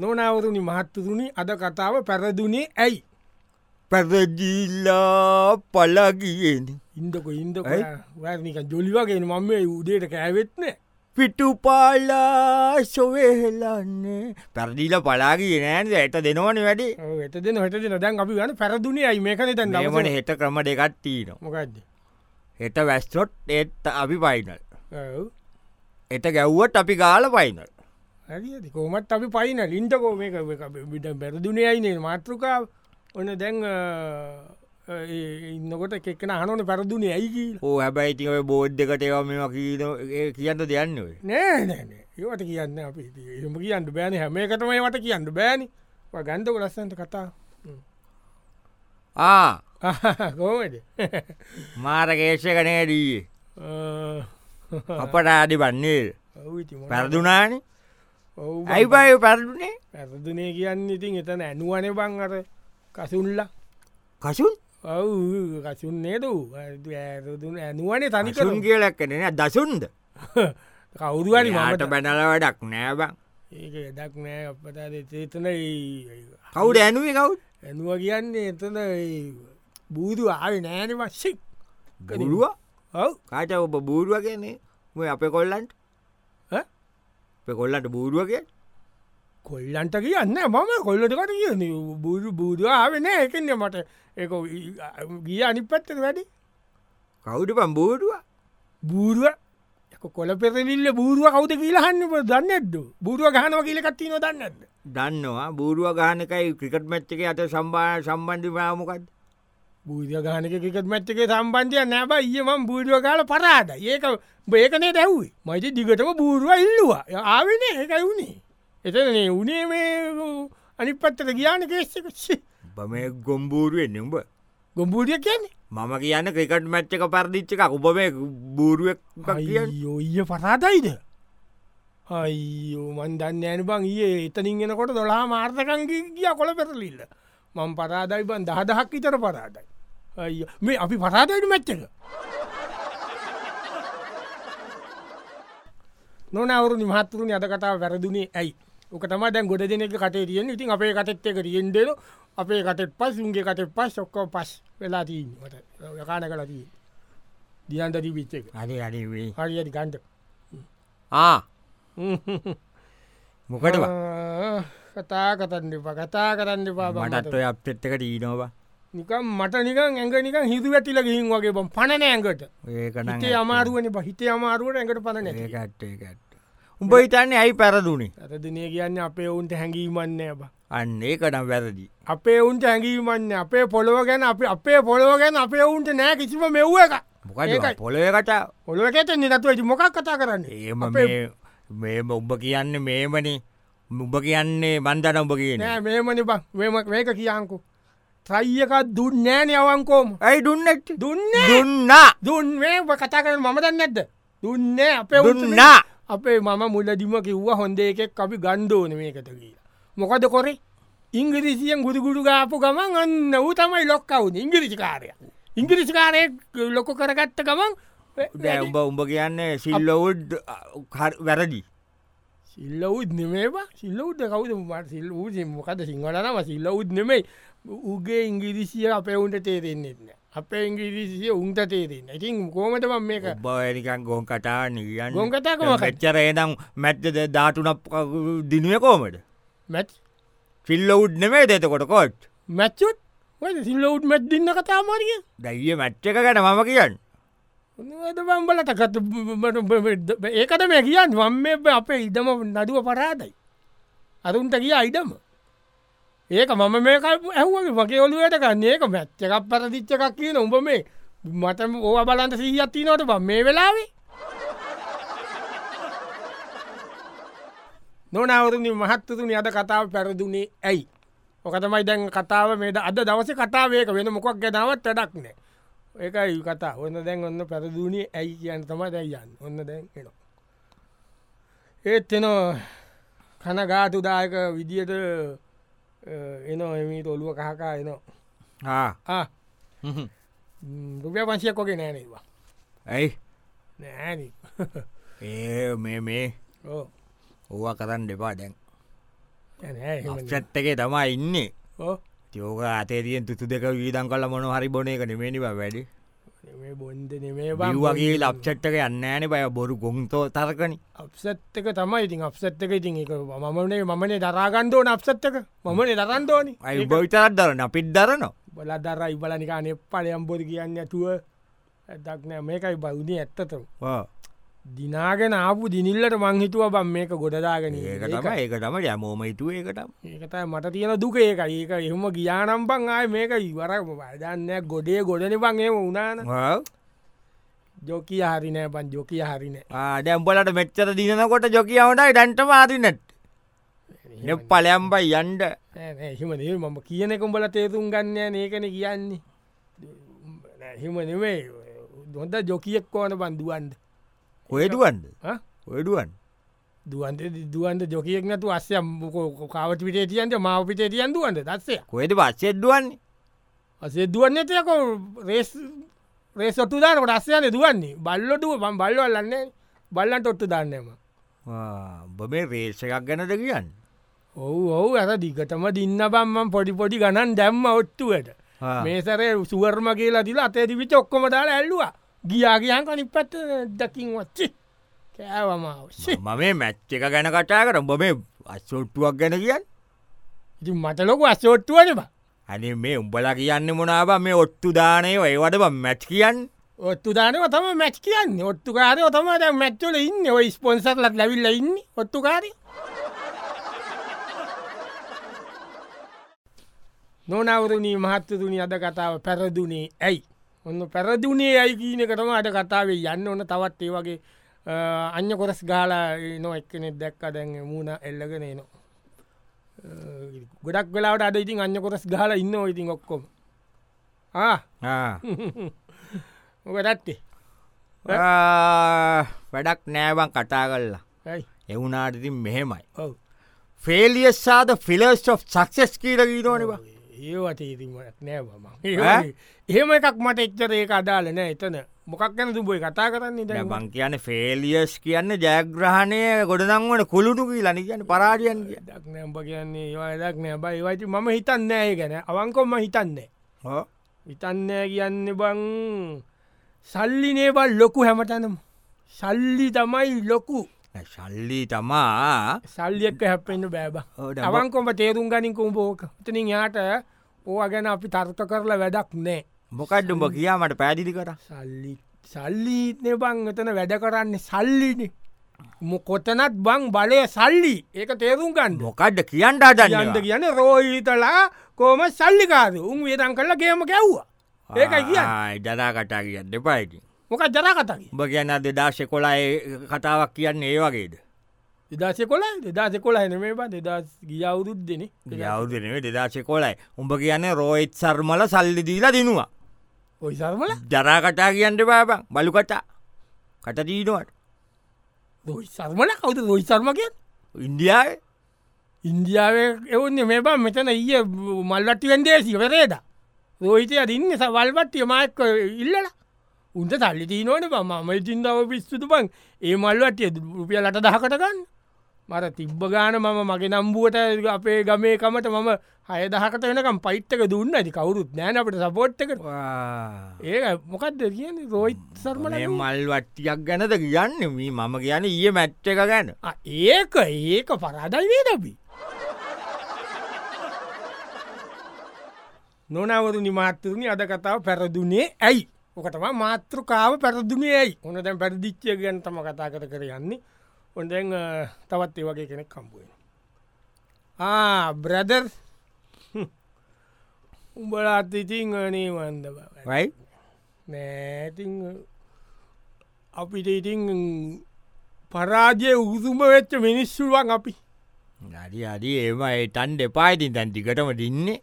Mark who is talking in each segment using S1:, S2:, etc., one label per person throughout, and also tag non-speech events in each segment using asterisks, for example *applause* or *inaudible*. S1: නොනවරුණි මහත්තුරුණි අද කතාව පැරදුනේ ඇයි
S2: පැරජිල්ලා පලගියෙන්
S1: ඉන්දක ඉන්ද
S2: ඇයි?
S1: වැනික ජොලිවගේ මම මේ උඩේට කෑවෙත්නෑ
S2: පිටුපාලා සොවහෙලන්නේ පැරදිීල පලාගී නෑන් ඇයට දෙනවන වැඩි
S1: ඇත දෙන හට දෙන දැන් අපි ගන පැරදුනේ ඇයි මේකන තැන්
S2: නමන හෙට ක්‍රම දෙකත්තිීන
S1: මොකක්ද
S2: හෙට වැස්ටොට් ඒත් අපි පයිනල් එට ගැව්වත් අපි ගාල පයිනල්
S1: ඇරි කෝමත් අපි පයින ලින්ටකෝ මේක විට බැරදුනේ අයිනේ මාතෘකාව ඔන්න දැන් අ, අ, ඒ ඉන්නකොට කෙක්න හනොන පැරදුනේ ඇයි කියලා
S2: ඕ හැබැයි ඉතිව බෝඩ් එකට ඒවා මෙම කීන කියන්න දෙයන්න ඔය
S1: නෑ නෑනේ ඒවට කියන්න අපි ඉතින් එහෙම කියන්න බෑන හැමකටමයි වට කියන්න බෑනි ගන්ධක ලස්සන්ට කතා
S2: ආ
S1: *laughs* ගෝමද
S2: මාරකේෂකනය දී අපට ආඩි බන්නේ පැරදුනාන ඇයිබය පැරදුනේ
S1: පැරදුනේ කියන්න ඉතින් එතන ඇනුවන බං අර කසුල්ල
S2: කසුන්
S1: ඔව් කසුන්නේද ඇරදුන ඇනුවනේ තනිකරු
S2: කසුන් කියලක්කනන දසුන්ද
S1: *laughs* කවුරුවනි
S2: ට
S1: මට
S2: බැනල වැඩක් නෑබං
S1: ඒක දක් නෑ අපතාද චේතන ඇනුව
S2: කවුද ඇනුවේ කවු්
S1: කියන්නේ එතන ඒ බූදු ආය නෑන වශ්‍යෙක්
S2: ගුරුව
S1: ඔව්
S2: කාට ඔබ බූරුව කියන්නේ ඔය අප කොල්ලන්ට
S1: ඈ?
S2: අප කොල්ලන්ට බූරුවක
S1: කොල්ලන්ට කියන්න මම කොල්ලටකට කියන බුදු බුදුව ආවෙන එකන්න මට එක ගිය අනි පත්තක වැඩි
S2: කවුඩ පම් බූරුව
S1: බූරුව එක කොල පෙරලිල්ල බූරුව කවුද කියලාහන්න දන්නද බුරුව ගහනව කියලකත්තින දන්නද
S2: දන්නවා බූරුව ගානකයි ක්‍රිකට් මැච්චක අත සම්බා සම්බන්ධි පාමකත්
S1: බුදුව ගානක එකත් මැත්තකේ සම්බන්ධය නැබ ඒම බුරුව කාල පරාද ඒක බේකනේ දැව්යි මයිති දිගටම බූරුව ඉල්ලවා ආවෙන ඒකයි වුණේ එතනේ උනේ මේ අනි පත්තට ගියාන කේස්සක
S2: බම ගොම්බූරුවෙන් උඹ
S1: ගොම්බූරිය කියන්නේ
S2: මම කියන්න ක්‍රිකට් මැච්චක පරදිච්චක උබම බූරුවක් කියන්න
S1: අයියෝය පරාතයිද අයිෝ මන්දන්න ඇන බං ඒ එතනින් එනකොට දොලා මාර්ථකංගි ගිය කොළ පෙරලිල්ල මං පරාදයි බන් දහදහක් ඉතර පරාදයි අය මේ අපි පරාදයට මැච්චක නොනවරු නිමහත්තුරුණ අද කතාව වැරදුනේ ඇයි ඕක තම දැන් ගොඩ දෙනෙක කටේ තියෙන් ඉතින් අපේ කටෙත් එක රියෙන්දෙන අපේ කටෙත් පස් උන්ගේ කටෙත් පස් ඔක්කෝ පස් වෙලාතිීන්ට යකාන කලතිී දියන්දදී විච්චක
S2: අද අඩවේ
S1: හරියට ගන්ඩ
S2: ආ මොකටව
S1: කතා කතන්න එපා කතා කරන්න
S2: මටත්
S1: පාබට
S2: ඔය අපත්තක ටීනවා
S1: නිකම් මට නිකං ඇඟ නිකං හිදු ඇතිල ගිහින් වගේ බම් පණන ඇඟට
S2: ඒකන
S1: හිතේ අමාරුවන පහිතේ අමාරුවට ඇඟට පණන ඇ
S2: ඒකට්ට ඒකට උඹ හිතන්නේ ඇයි පැරදුනේ
S1: අතදිනය කියන්න අපේ ඔවුන්ට හැඟීමන්න බ
S2: අන්න ඒකනම් වැරදි
S1: අපේ ඔවුන්ට හැඟීමන්න අපේ පොළොව ගැන අප අපේ පොළොව ගැන අපේ ඔවුන්ට නෑ කිසිම මෙව්ව එක
S2: මොකද
S1: ඒකයි.
S2: පොළොය කටා
S1: ඔොලොව ඇතෙන් නිනතුවයි මොකක් කතා කරන්නේ
S2: ඒම
S1: අපේ-
S2: මේ මේම උඹ කියන්න මේමනේ උඹ කියන්නේ බන්ධන උඹ කියන
S1: නෑ මේමනි බං මේම මේක කියංකු ත්‍රයියකක් දුන්න නෑන අවංකෝම
S2: ඇයි දුන්නට
S1: දුන්නේ
S2: දුන්නා
S1: දුන්වේ ඔබ කතා කරන මම දන්න ඇද දුන්නේ අපේ උන්ට
S2: දුන්නා
S1: අපේ මම මුලදිම කිව්ව හොඳ එකෙක් අපි ගණ්ඩෝන මේකට කියලා මොකද කොරේ ඉංග්‍රීසියෙන් ගුදුගුඩු ගාපු ගමන් අන්න ඌ තමයි ලොක්කවුද ඉංග්‍රිසිකාරය ඉංග්‍රිසිකාරය ලොක කරගත්ත ගමන්
S2: දැ උඹ උඹ කියන්නේ සිල්ලවුඩ් වැරදි
S1: සිල්ල උත් නෙමේවා සිල්ල උද කවුද මට සිල් වූ මොකද සිංහලනම සිල්ල උත් නෙමයි උගේ ඉංගිරිසිය අපේ උන්ට තේරෙන්න්නෙත්න අපේ ඉංගිරිසිය උන්ට තේරෙන්න ඉතින් කෝමට මම මේක
S2: බවනිකන් ගොන් කටා නිියන්
S1: ගොන් කතා කොහොමද?
S2: කච්චරේනම් මැච්චද ධාටුනක් දිනුව කෝමට
S1: මැත්
S2: සිල්ලවුඩ් නෙමේ දෙතකොට කොට්
S1: මැච්චුත් ඔය සිල්ල උත් මැත් දෙන්න කතා මාරිය
S2: දැයිය මැච්චක ගැන මම කියන්න
S1: ද බම්බලට කත ඒකට මේ කියන්න වම් මේ බ- අපේ ඉඩම නඩුව පරාදයි අරුන්ට කිය අයිඩම ඒක මම මේක ඇහුවගේ වගේ ඔලුවයට ගන්න ඒක මැච්චකක් පරදිච්ච එකක් කියන උඹ මේ මටම ඕ බලන්ට සීහත්ති නොට බ මේ වෙලාවේ නොනවරුණි මහත්තතුනි අද කතාව පැරදුනේ ඇයි ඕකතමයි දැන් කතාව මේට අද දවස කතාවයක වෙන මොකක් ගැනවත් වැඩක් නෑ ඒකයි කතා ඔන්න දැන් ඔන්න පැරදුනේ ඇයි කියන්න තම දැයි යන්න ඔන්න දැන් එන ඒත් එන කන ගාතුදායක විදියට එන එමීට ඔලුව කහකා එනවා රුපිය පංශයක් කොගේ නෑනවා
S2: ඇයි
S1: නෑන *laughs*
S2: ඒ මේ මේ
S1: ඕ
S2: ඕවා කරන්න දෙපා දැන් චත්තකේ තමා ඉන්නේ යෝග අතේරියෙන් තුතු දෙක වීදන් කල මොන හරි බොන එක නෙමේනිව වැඩි
S1: බොන්ද නෙමේ
S2: වගේ ලක්්චට්ටක යන්නෑන බය බොරු ගොන්තෝ තරකන
S1: අප්සත්තක තමයි ඉතින් අප්සත්තක ඉතින් එක මමනේ මමනේ දරාගණ්ඩෝ අප්සත්තක මමනේ දරන්දෝනි
S2: අයි බොවිතරත් දරන අපිත් දරනවා
S1: බල දරයි බලනිකානේ පලයම් බොද කියන්න ඇතුව දක්නෑ මේකයි බෞුණි ඇත්තතම
S2: ආ.
S1: දිනාගෙන ආපු දිනිල්ලට මංහිතුව බම් මේක ගොඩදාගෙන
S2: ඒක
S1: ඒක-
S2: තමයි ඒක තමයි යමෝම හිතුව ඒකටම්
S1: ඒකතයි මට තියෙන දුක ඒක ඒක එහම ගියානම්බං ආය මේක ඉවර වදන්න ගොඩේ ගොඩන බංගේ උනාන ජොකිය හරිනෑ බන් ජොකිය හරිනෑ
S2: ආඩැම්බලට මෙච්චර දිනකොට ජොකියාවටයි ඩන්ට මාතිනට එ පලයම්බයි යන්ඩ
S1: එහෙම නේ මම කියනෙකුම්ඹල තේරුම් ගන්න ඒකන කියන්නේ නෑ, එහෙම නෙවේ දොඳ ජොකියෙක් ඕන බන්දුවන්ද
S2: කොේඩුවන්ද ඔඩුවන්
S1: දුවන්ද දුවන්ද ජොකියෙක් නතු අස්යම් කාවට පිටේ තියන්ට මාව පිටේ තියන් දුවන්ද දස්සේ
S2: කොේද පස්සෙද්දුවන්
S1: අසේ දුවන්න ඇතියකො රේස් රේසොට්තු දානකට අස්සයන දුවන්නේ බල්ලොටුව බම් බල්ලවල්ලන්නේ බල්ලන්ට ඔොත්තු දන්නම
S2: බ මේ රේෂ එකක් ගැනද කියන්න
S1: ඔහු ඔහු ඇත දිගටම දින්න බම්මන් පොඩිපොඩි ගණන් දැම්ම ඔට්ටුවට
S2: ආ.
S1: මේසරේ සුවර්ම කියලා දිලා අතේදිවිච ඔක්කොම දාලා ඇල්ලවා ගියා කියන් කනිපත් දකිින් වච්චි කෑවමාවශ්‍ය
S2: ම මේ මැච්ච එක ගැන කටා කර උඹ මේ අස්සොට්ටුවක් ගැන කියන්න
S1: ඉති මටලොක අස්සෝට්ටුවනබ
S2: අනේ මේ උඹලා කියන්න මොනාව මේ ඔට්ටු දානය ඒවට බ මැච් කියන්න
S1: ඔත්තු දානව තම මැච් කියන්න ඔත්තු කාරය තම ද මැච්චල ඉන්න ඔයි ස්පොන්සර්ලත් ලැවිල්ල ඉන්න ඔත්තු කාරය නොනවරණී මහත්තතුනි අද කතාව පැරදුනේ ඇයි ඔන්න පැරදුනේ ඇයි කියීනකටම අද කතාවේ යන්න ඕන තවත් ඒ වගේ අ, අන්‍ය කොරස් ගාලා නො එක්කනෙ දැක්ක දැන් මූුණ එල්ලගෙන නවා ගොඩක් වෙලාට අද ඉතින් අන්‍ය කොරස් ගාල ඉන්න ඉතින් ඔක්කොම ආ
S2: *laughs*
S1: මොකදත්තේ
S2: වැඩක් නෑවන් කටා කල්ලා
S1: ඇයි
S2: එවුනාටතින් මෙහෙමයි
S1: ඔව්
S2: ෆෙලියස්සාද ෆිලස් of සක්සෙස් කීර ගීරෝනවා
S1: ඒවට ඉතිමත් නෑබම එහෙම එකක් මට එච්චර ඒක අදාල නෑ එතන මොකක් ගැන තුබයි කතා කරන්නේ දැ
S2: බං කියන ෆේලියස් කියන්න ජයග්‍රහණය ගොඩනංවන කුළුණු කී ලනි කියන්න පරාජයන් කිය
S1: දක්නෑම්ප කියන්නේ ඒවා දක් නෑ බයි වයිති ම හිතන්නෑ ඒ ගැන අවංකොම්ම හිතන්නේ හිතන්නෑ කියන්න බං සල්ලි නේබල් ලොකු හැමතනම් සල්ලි තමයි ලොකු
S2: ශල්ලී තමා
S1: සල්ලියක්ක හැපෙන්න්න බෑබ
S2: ඔව් දැන් බ-
S1: අවංකොම තේරුම් ගනින්කුම් බෝක තනින් යාට ඕ ගැන අපි තර්ත කරලා වැඩක් නෑ
S2: මොකක්ඩුඹ කියාමට පැදිලි කර
S1: සල්ලි සල්ලීනේ බං එතන වැඩ කරන්න සල්ලින කොතනත් බං බලය සල්ලි ඒක තේරුම් ගන්න
S2: මොකඩ්ඩ කියන්ට අදන්න
S1: යන්ද කියන රෝහිතලා කෝම සල්ලිකාද උන් වේදන් කරලා ගේම කැව්වා ඒකයි කියන්න
S2: ජනා කටා කියන්න දෙපයිති
S1: මොකක් ජරා කතකි
S2: උඹ කියන්න දෙදාශෙ කොලායි කතාවක් කියන්න ඒ වගේද
S1: දෙදාශය කොලයි දෙදාශ කොලා එන මේ බ දෙදස් ගියවුරුද් දෙන
S2: යෞදනේ දෙදාශෙ කොලයි උඹ කියන්න රෝයිත් සර්මල සල්ලි දීලා දෙනවා
S1: ඔයි සර්මල
S2: ජනා කටා කියන්න බාබං බලු කටා කට දීනුවට
S1: රොයි සර්මල කවුද රොයි සර්මකෙන්
S2: ඉන්දියාය
S1: ඉන්දියාවේ එවන්නේ මේ බම් මෙතන ඊය මල්වට්ටිවෙන් දේසිවරේද රෝහිතය දින්න සවල්පට්ටිය මයක්ක ඉල්ලලා උන්ට සල්ලි තිීනෝන මම ඉතින්දාව පිස්සුතු පන් ඒ මල්වට්ටිය රුපිය ලට දහකටගන්න මර තිබ්බ ගාන මම මගේ නම්බුවට අපේ ගමේකමට මම හය දහකට වෙනකම් පයිත්තක දුන්න ඇති කවුරුත් නෑන අපට සපෝට්ක ඒ මොකක්ද කියන්නේ රෝයිත් සර්මල
S2: මේ මල් වට්ටියක් ගැනද කියන්න මේ මම කියන ඊය මැට්ට එක ගැන
S1: Ah, ඒක ඒක පරාදයි වේ දබි නොනවරු නිමාත්තරණ අද කතාව පැරදුනේ ඇයි ඕකටම මාතෘකාව පැරදුනේ ඇයි ඕන දැන් පැරදිච්චය ගැන තම කතා කර කර යන්නේ ඔොන්දැන් තවත් ඒ වගේ කෙනෙක් කම්පුුවෙන බ්‍රදර් උඹලාත් ඉතිං අනේ වන්ද බව
S2: වයි
S1: නෑතින් අපිට ඉතින් පරාජය උසුම වෙච්ච මිනිස්සුුවන් අපි
S2: නඩි අඩි ඒම ඒතන් දෙපායිතින් තැන් ටිකටම දින්නේ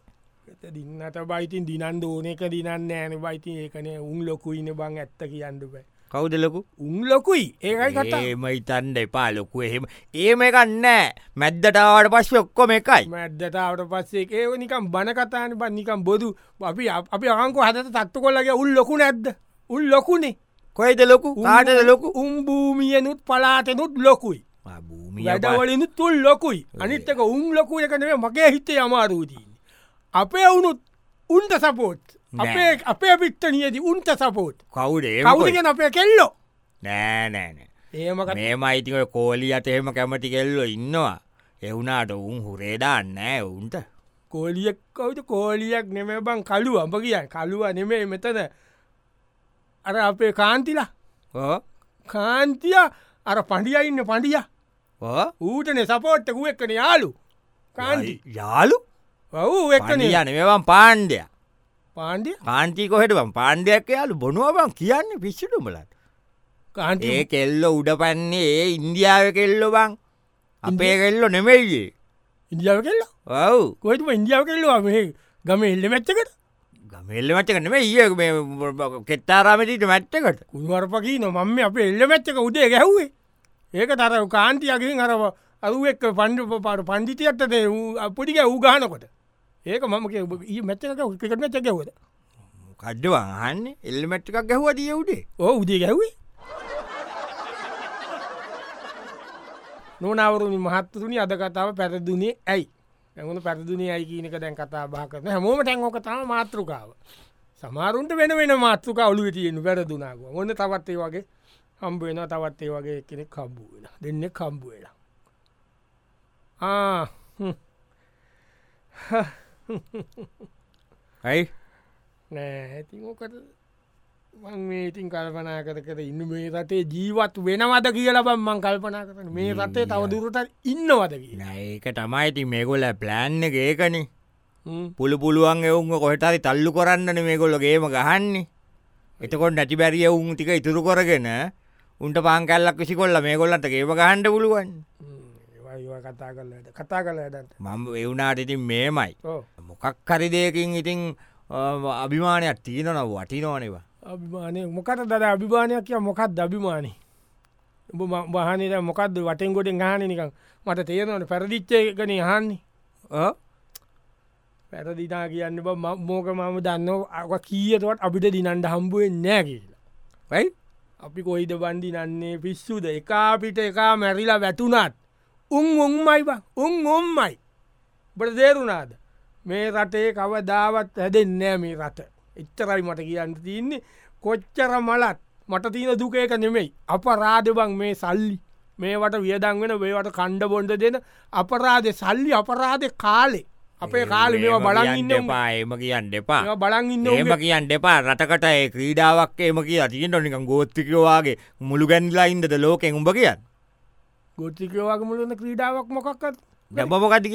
S1: එත දින්නට බයිතින් දිනන් ඕන එක දිනන්න ෑන බයිති ඒකනේ උන් ලොකුයින බං ඇත්ත කියන්නඩ බෑ
S2: කවුද ලොකු
S1: උන් ලොකුයි ඒකයි කතා
S2: ඒම ඉතන්ඩ එපා ලොකු එහෙම ඒම එකන්නෑ මැද්දටාවට පස්ස ඔක්කොම එකයි
S1: මැද්දතාවට පස්සේ ඒව නිකම් බණ කතාන බන් නිකම් බොදු අපි අප- අපි අංකු හත තත්තු කොල්ලගේ උල් ලොකු නැද්ද උල් ලොකුනේ
S2: කොයිද ලොකු
S1: උන්-
S2: කාටද ලොකු
S1: උම් භූමියනුත් පලාතනුත් ලොකුයි
S2: භූමිය
S1: වැඩවලින් තුල් ලොකුයි අනිත්තක උන් ලොකු එකනේ මගේ හිතේ අමාරූතිීන්. අපේ අවුනුත් උන්ට සපෝට්
S2: නෑ.
S1: අපේ අපේ පිත්ත නියති උන්ට සපෝට්
S2: කවුඩ
S1: කවුදගෙන අපේ කෙල්ලෝ
S2: නෑනෑනෑ
S1: ඒමක
S2: මේම අයිතික කෝලි අතහෙම කැමති කෙල්ලො ඉන්නවා එවුනාට උන් හුරේදාන්නෑ ඔවුන්ට
S1: කෝලියක් කවුද කෝලියක් නෙම බං කලුව අඹ කියන් කලුව නෙමේ මෙතන අර අපේ කාන්තිලා
S2: ඕ
S1: කාන්තිය අර පඩිය ඉන්න පඩිය
S2: ඕ
S1: ඌටන සපෝට්ටකු එක්කන යාලු කාන්ති
S2: යාලු
S1: ඔවු එක්කන
S2: යන මෙවන් පාණ්ඩය
S1: පාන්ඩිය
S2: කාන්තිී කොහෙටම පාණ්ඩයක් යාලු බොනුවබන් කියන්න පිස්්ිටුමලට
S1: කාන්ති
S2: ඒ කෙල්ලො උඩ පන්නේ ඒ ඉන්දියාව කෙල්ලො බං අපේ කෙල්ලො නෙමෙයියේ
S1: ඉන්දියාව කෙල්ලා
S2: ඔව්
S1: කොයිතුම ඉන්දියාව කෙල්ලවා මේ ගම එල්ල මැච්චකට
S2: ගමෙල්ල මටකන ඒ කෙත්තාරාමටට මැට්ටකට
S1: කුණුවරපකී නො මම අප එල්ල මැච්චක උදේ ගැහ්වේ ඒක තර කාන්තියකින් අරව අරුවෙක් පණ්ඩ පාට පණ්ඩිතියත්තද පොඩික වූ ගානකොට ඒක මම ඒ මැච්චක උකට මැච්චකවද
S2: කඩ්ඩවාහන්න එල්ල මැට්ටිකක් ගැහුව දිය උඩේ
S1: ඕ උදේ ගැහ්වේ නොනවරුණි මහත්තුරුණි අද කතාව පැරදුනේ ඇයි ඇගුණ පැරදුනේ ඇයි කියනක දැන් කතා බා කරන හැමෝම ටැන් ඕක තම මාතෘකාව සමාරුන්ට වෙන වෙන මාතෘක ඔලු තියෙන වැරදුනාග ඔන්න තවත්තේ වගේ හම්බුවෙන තවත් ඒ වගේ කෙනෙක් කම්බු වෙන දෙන්න කම්බු වෙලා ආ, හ්ම්.
S2: ඇයි
S1: නෑ ඇති ඕකට මං මේ ඉතින් කල්පනා කර කර ඉන්න මේ රටේ ජීවත් වෙනවද කියලා බන් මං කල්පනා කරන මේ රටේ තවදුරට ඉන්නවද කියලා
S2: ඒක තමයි ඉති මේගොල ප්ලෑන්් එක ඒකන
S1: හ්ම්.
S2: පුළු පුළුවන් එවුන් කොහටරි තල්ලු කරන්නන මේගොල්ලොගේම ගහන්නේ එතකොට නැති බැරිිය උන් ටික ඉතුරු කොරගෙන උන්ට පාංකල්ලක් විසි කොල්ල මේ ගොල්ලට ඒව ගහන්ඩ පුළුවන්
S1: හ්ම්. ඒවා- ඒවා කතා කරලට කතා කල ඇදන්ට
S2: මම එවුනාට ඉතින් මේමයි මොකක් හරි දෙයකින් ඉතින් අ, අභිමානයක් තියනනව වටිනෝනවා
S1: අභිමානය මොකට දර අභිමානයක් කිය මොකක් දබිමානය ඔබ වාහනයට මොකක්ද වටෙන් ගොඩෙන් හාන නිකක් මට තේරනවට පැරදිච්චයකන හන්නේ පැරදිනා කියන්න බ මෝක මම දන්න කියතවත් අපිට දිනන්ට හම්බුවෙන් නෑ කියලා
S2: යි
S1: අපි කොයිද බන්ඩි නන්නේ පිස්සුද එකා පිට එකා මැරිලා වැටුනත් උන් උන්මයි බං. උන් උම්මයි බට දේරුණාද මේ රටේ කවදාවත් හැදෙන්නෑ මේ රට එච්චරයි මට කියන්න තියන්නේ කොච්චර මලත් මට තියෙන දුකේක නෙමෙයි අපරාධබං මේ සල්ලි මේවට වියදං වෙන වේවට කණ්ඩ බොන්ඩ දෙන අපරාධ සල්ලි අපරාධ කාලේ අපේ කාලි මේ බලන් ඉන්න උන්.
S2: එපා එම කියන්න එපා
S1: ඒවා බලන් ඉන්න
S2: ඒම
S1: උන්ගේ-
S2: කියන්න එපා රටකට ඒ ක්‍රීඩාවක් ඒම කිය තියෙන්ට නික ගෝත්තිකවාගේ මුළු ගැන්ලා ඉන්දද ලෝකෙන් උඹ කියන්න
S1: ගොත්තිකයෝවාගේ මුලන ක්‍රීඩාවක් මොකක්කත්
S2: නැබමකටික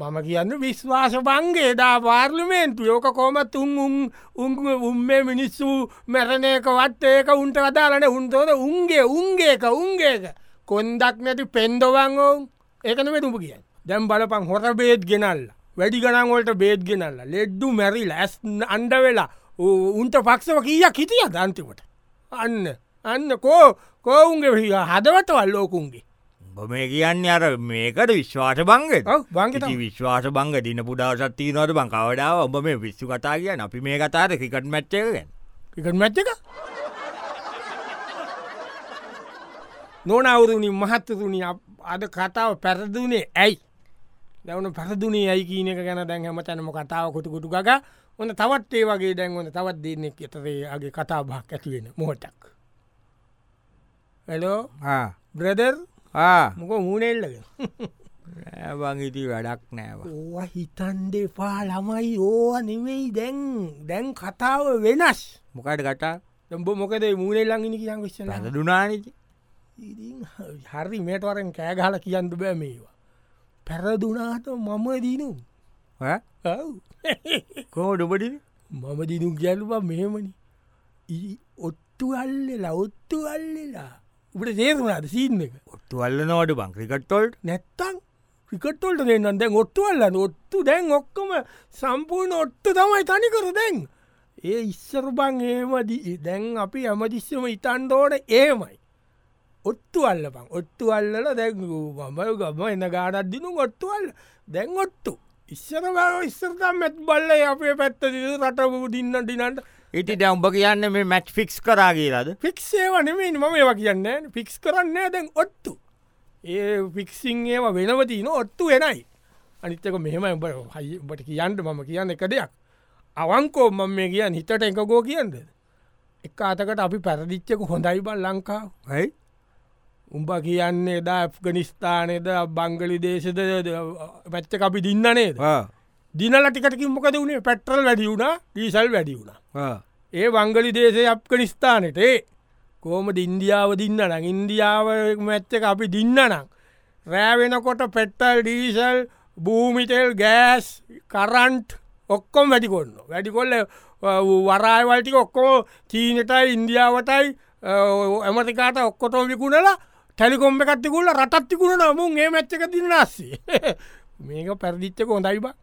S1: මම කියන්න විශ්වාස බංගේ දා පාර්ලිමේන්තු යෝක කෝමත් උන් උන් උන් උම්මේ මිනිස්සු මැරණයකවත් ඒක උන්ට කතාලන උන්තෝද උන්ගේ උන්ගේක උන්ගේක කොන්දක් නැති පෙන්දවන් ඔවුන් ඒකනම තුප කියන්න දැම් බලපන් හොර බේත් ගෙනල්ල වැඩි ගනන්වලට බේත් ගෙනල්ල ලෙඩ්ඩු මැරිල ඇස් අන්ඩ වෙලා ඌ- උන්ට පක්ෂව කියක් හිටිය දන්තිකොට අන්න අන්න කෝ කෝවුන්ගේ හිය හදවතවල් ලෝකුන්ගේ
S2: බොම කියන්න අර මේකට විශ්වාස බංග
S1: බංගත
S2: විශ්වාස බංග දින පුඩාසත්ති නොට බංකවඩාව ඔබ මේ විස්සු කතා කියන්න අපි මේ කතාට ක්‍රිකට මැච්චකගෙන
S1: එකට මැච්චක නොනවුරුණි මහත්තතුනි අද කතාව පැරදුනේ ඇයි දැවන පැරදුනේ ඇයි කියනක ගැන දැන් හම තැනම කතාව කොටකොටු ගග ඔන්න තවත් ඒ වගේ දැන්වන තවත් දෙන්නෙක් එතරේගේ කතා බාක් ඇතිවෙන මොහොටක් හලෝ බ්‍රදර් මොක මූනෙල්ලගෙන
S2: බංගිති වැඩක් නෑව
S1: ඕ හිතන්ඩේ පා ළමයි ඕ නෙවෙයි දැන් දැන් කතාව වෙනස්
S2: මොකට කටා
S1: දම්බ මොකද මූනෙල්ලංගිනි කියන් විශ්ල
S2: රඳදුනානති
S1: ඉතින් හරි මේටවරෙන් කෑගහල කියන්න බෑ මේවා පැරදුනාට මම දිනුම් ඔව්.
S2: කෝඩුබඩි
S1: *laughs* මම දිනුම් ගැලුවා මෙහෙමනි ඊ- ඔත්තු අල්ලලා ඔත්තු අල්ලලා උට තේරුණාද සීන් එක
S2: ඔත්තුවල්ල නෝට බංක්‍රිකට්ටොල්ට
S1: නැත්තං ක්‍රිකට්ටොල්ට දෙන්න දැන් ඔත්තු අල්ලන්න ඔත්තු දැන් ඔක්කොම සම්පූර්ණ ඔත්තු තමයි තනිකර දැන් ඒ ඉස්සර බං ඒමදි දැන් අපි ඇමදිස්සම ඉතන්ඩෝට ඒමයි ඔත්තු අල්ලපං ඔත්තු අල්ලල දැන් මම ගම එන්න ගාඩත් දිනු ඔත්තුවල් දැන් ඔත්තු ඉස්සර බල ඉස්සරතා මැත් බල්ල අපේ පැත්ත රටපු දින්න දිනට
S2: ඉටි දැම්ඹ කියන්න මේ මැට් ෆික්ස් කරා කියලාද
S1: ෆික්ෂේවනෙමයි මම ඒවා කියන්න ෆික්ස් කරන්න දැන් ඔත්තු ඒ ෆික්සිං ඒම වෙනවතින ඔත්තු වෙනයි අනිත්තක මෙහම උඹ හයි උඹට කියන්ට මම කියන්න එක දෙයක් අවංකෝ මම මේ කියන් හිතට එකකෝ කියන්ද එක අතකට අපි පැරදිච්චක හොඳයි බල් ලංකාව
S2: හයි
S1: උඹ කියන්නේ එදා ඇෆ්ගනිස්ථානයද බංගලි දේශද පැච්ච අපි දින්නනේද දිනල ටිකටකින් මොකද වුණේ පැට්‍රල් වැඩි වුණා ඩීසල් වැඩි වුණා ඒ වංගලි දේශය අප්කනිස්ථානයට ඒ කෝමට ඉන්දියාව දින්න නම් ඉන්දියාව මැච්ච එක අපි දින්න නම් රෑවෙනකොට පෙට්ටල් ඩීසල් භූමිතෙල් ගෑස් කරන්ට් ඔක්කොම් වැඩිකොන්න වැඩිකොල්ල වරායවල්ටික ඔක්කෝ චීනටයි ඉන්දියාවටයි ඇමතිකාට ඔක්කොටෝ විකුණලා ටැලිකොම්ම *laughs* එකත්තිකුල්ල රටත්තිකුණ නමුන් ඒ මැච්චක දින්නස්සේ මේක පැරදිච්චක හොඳයිබා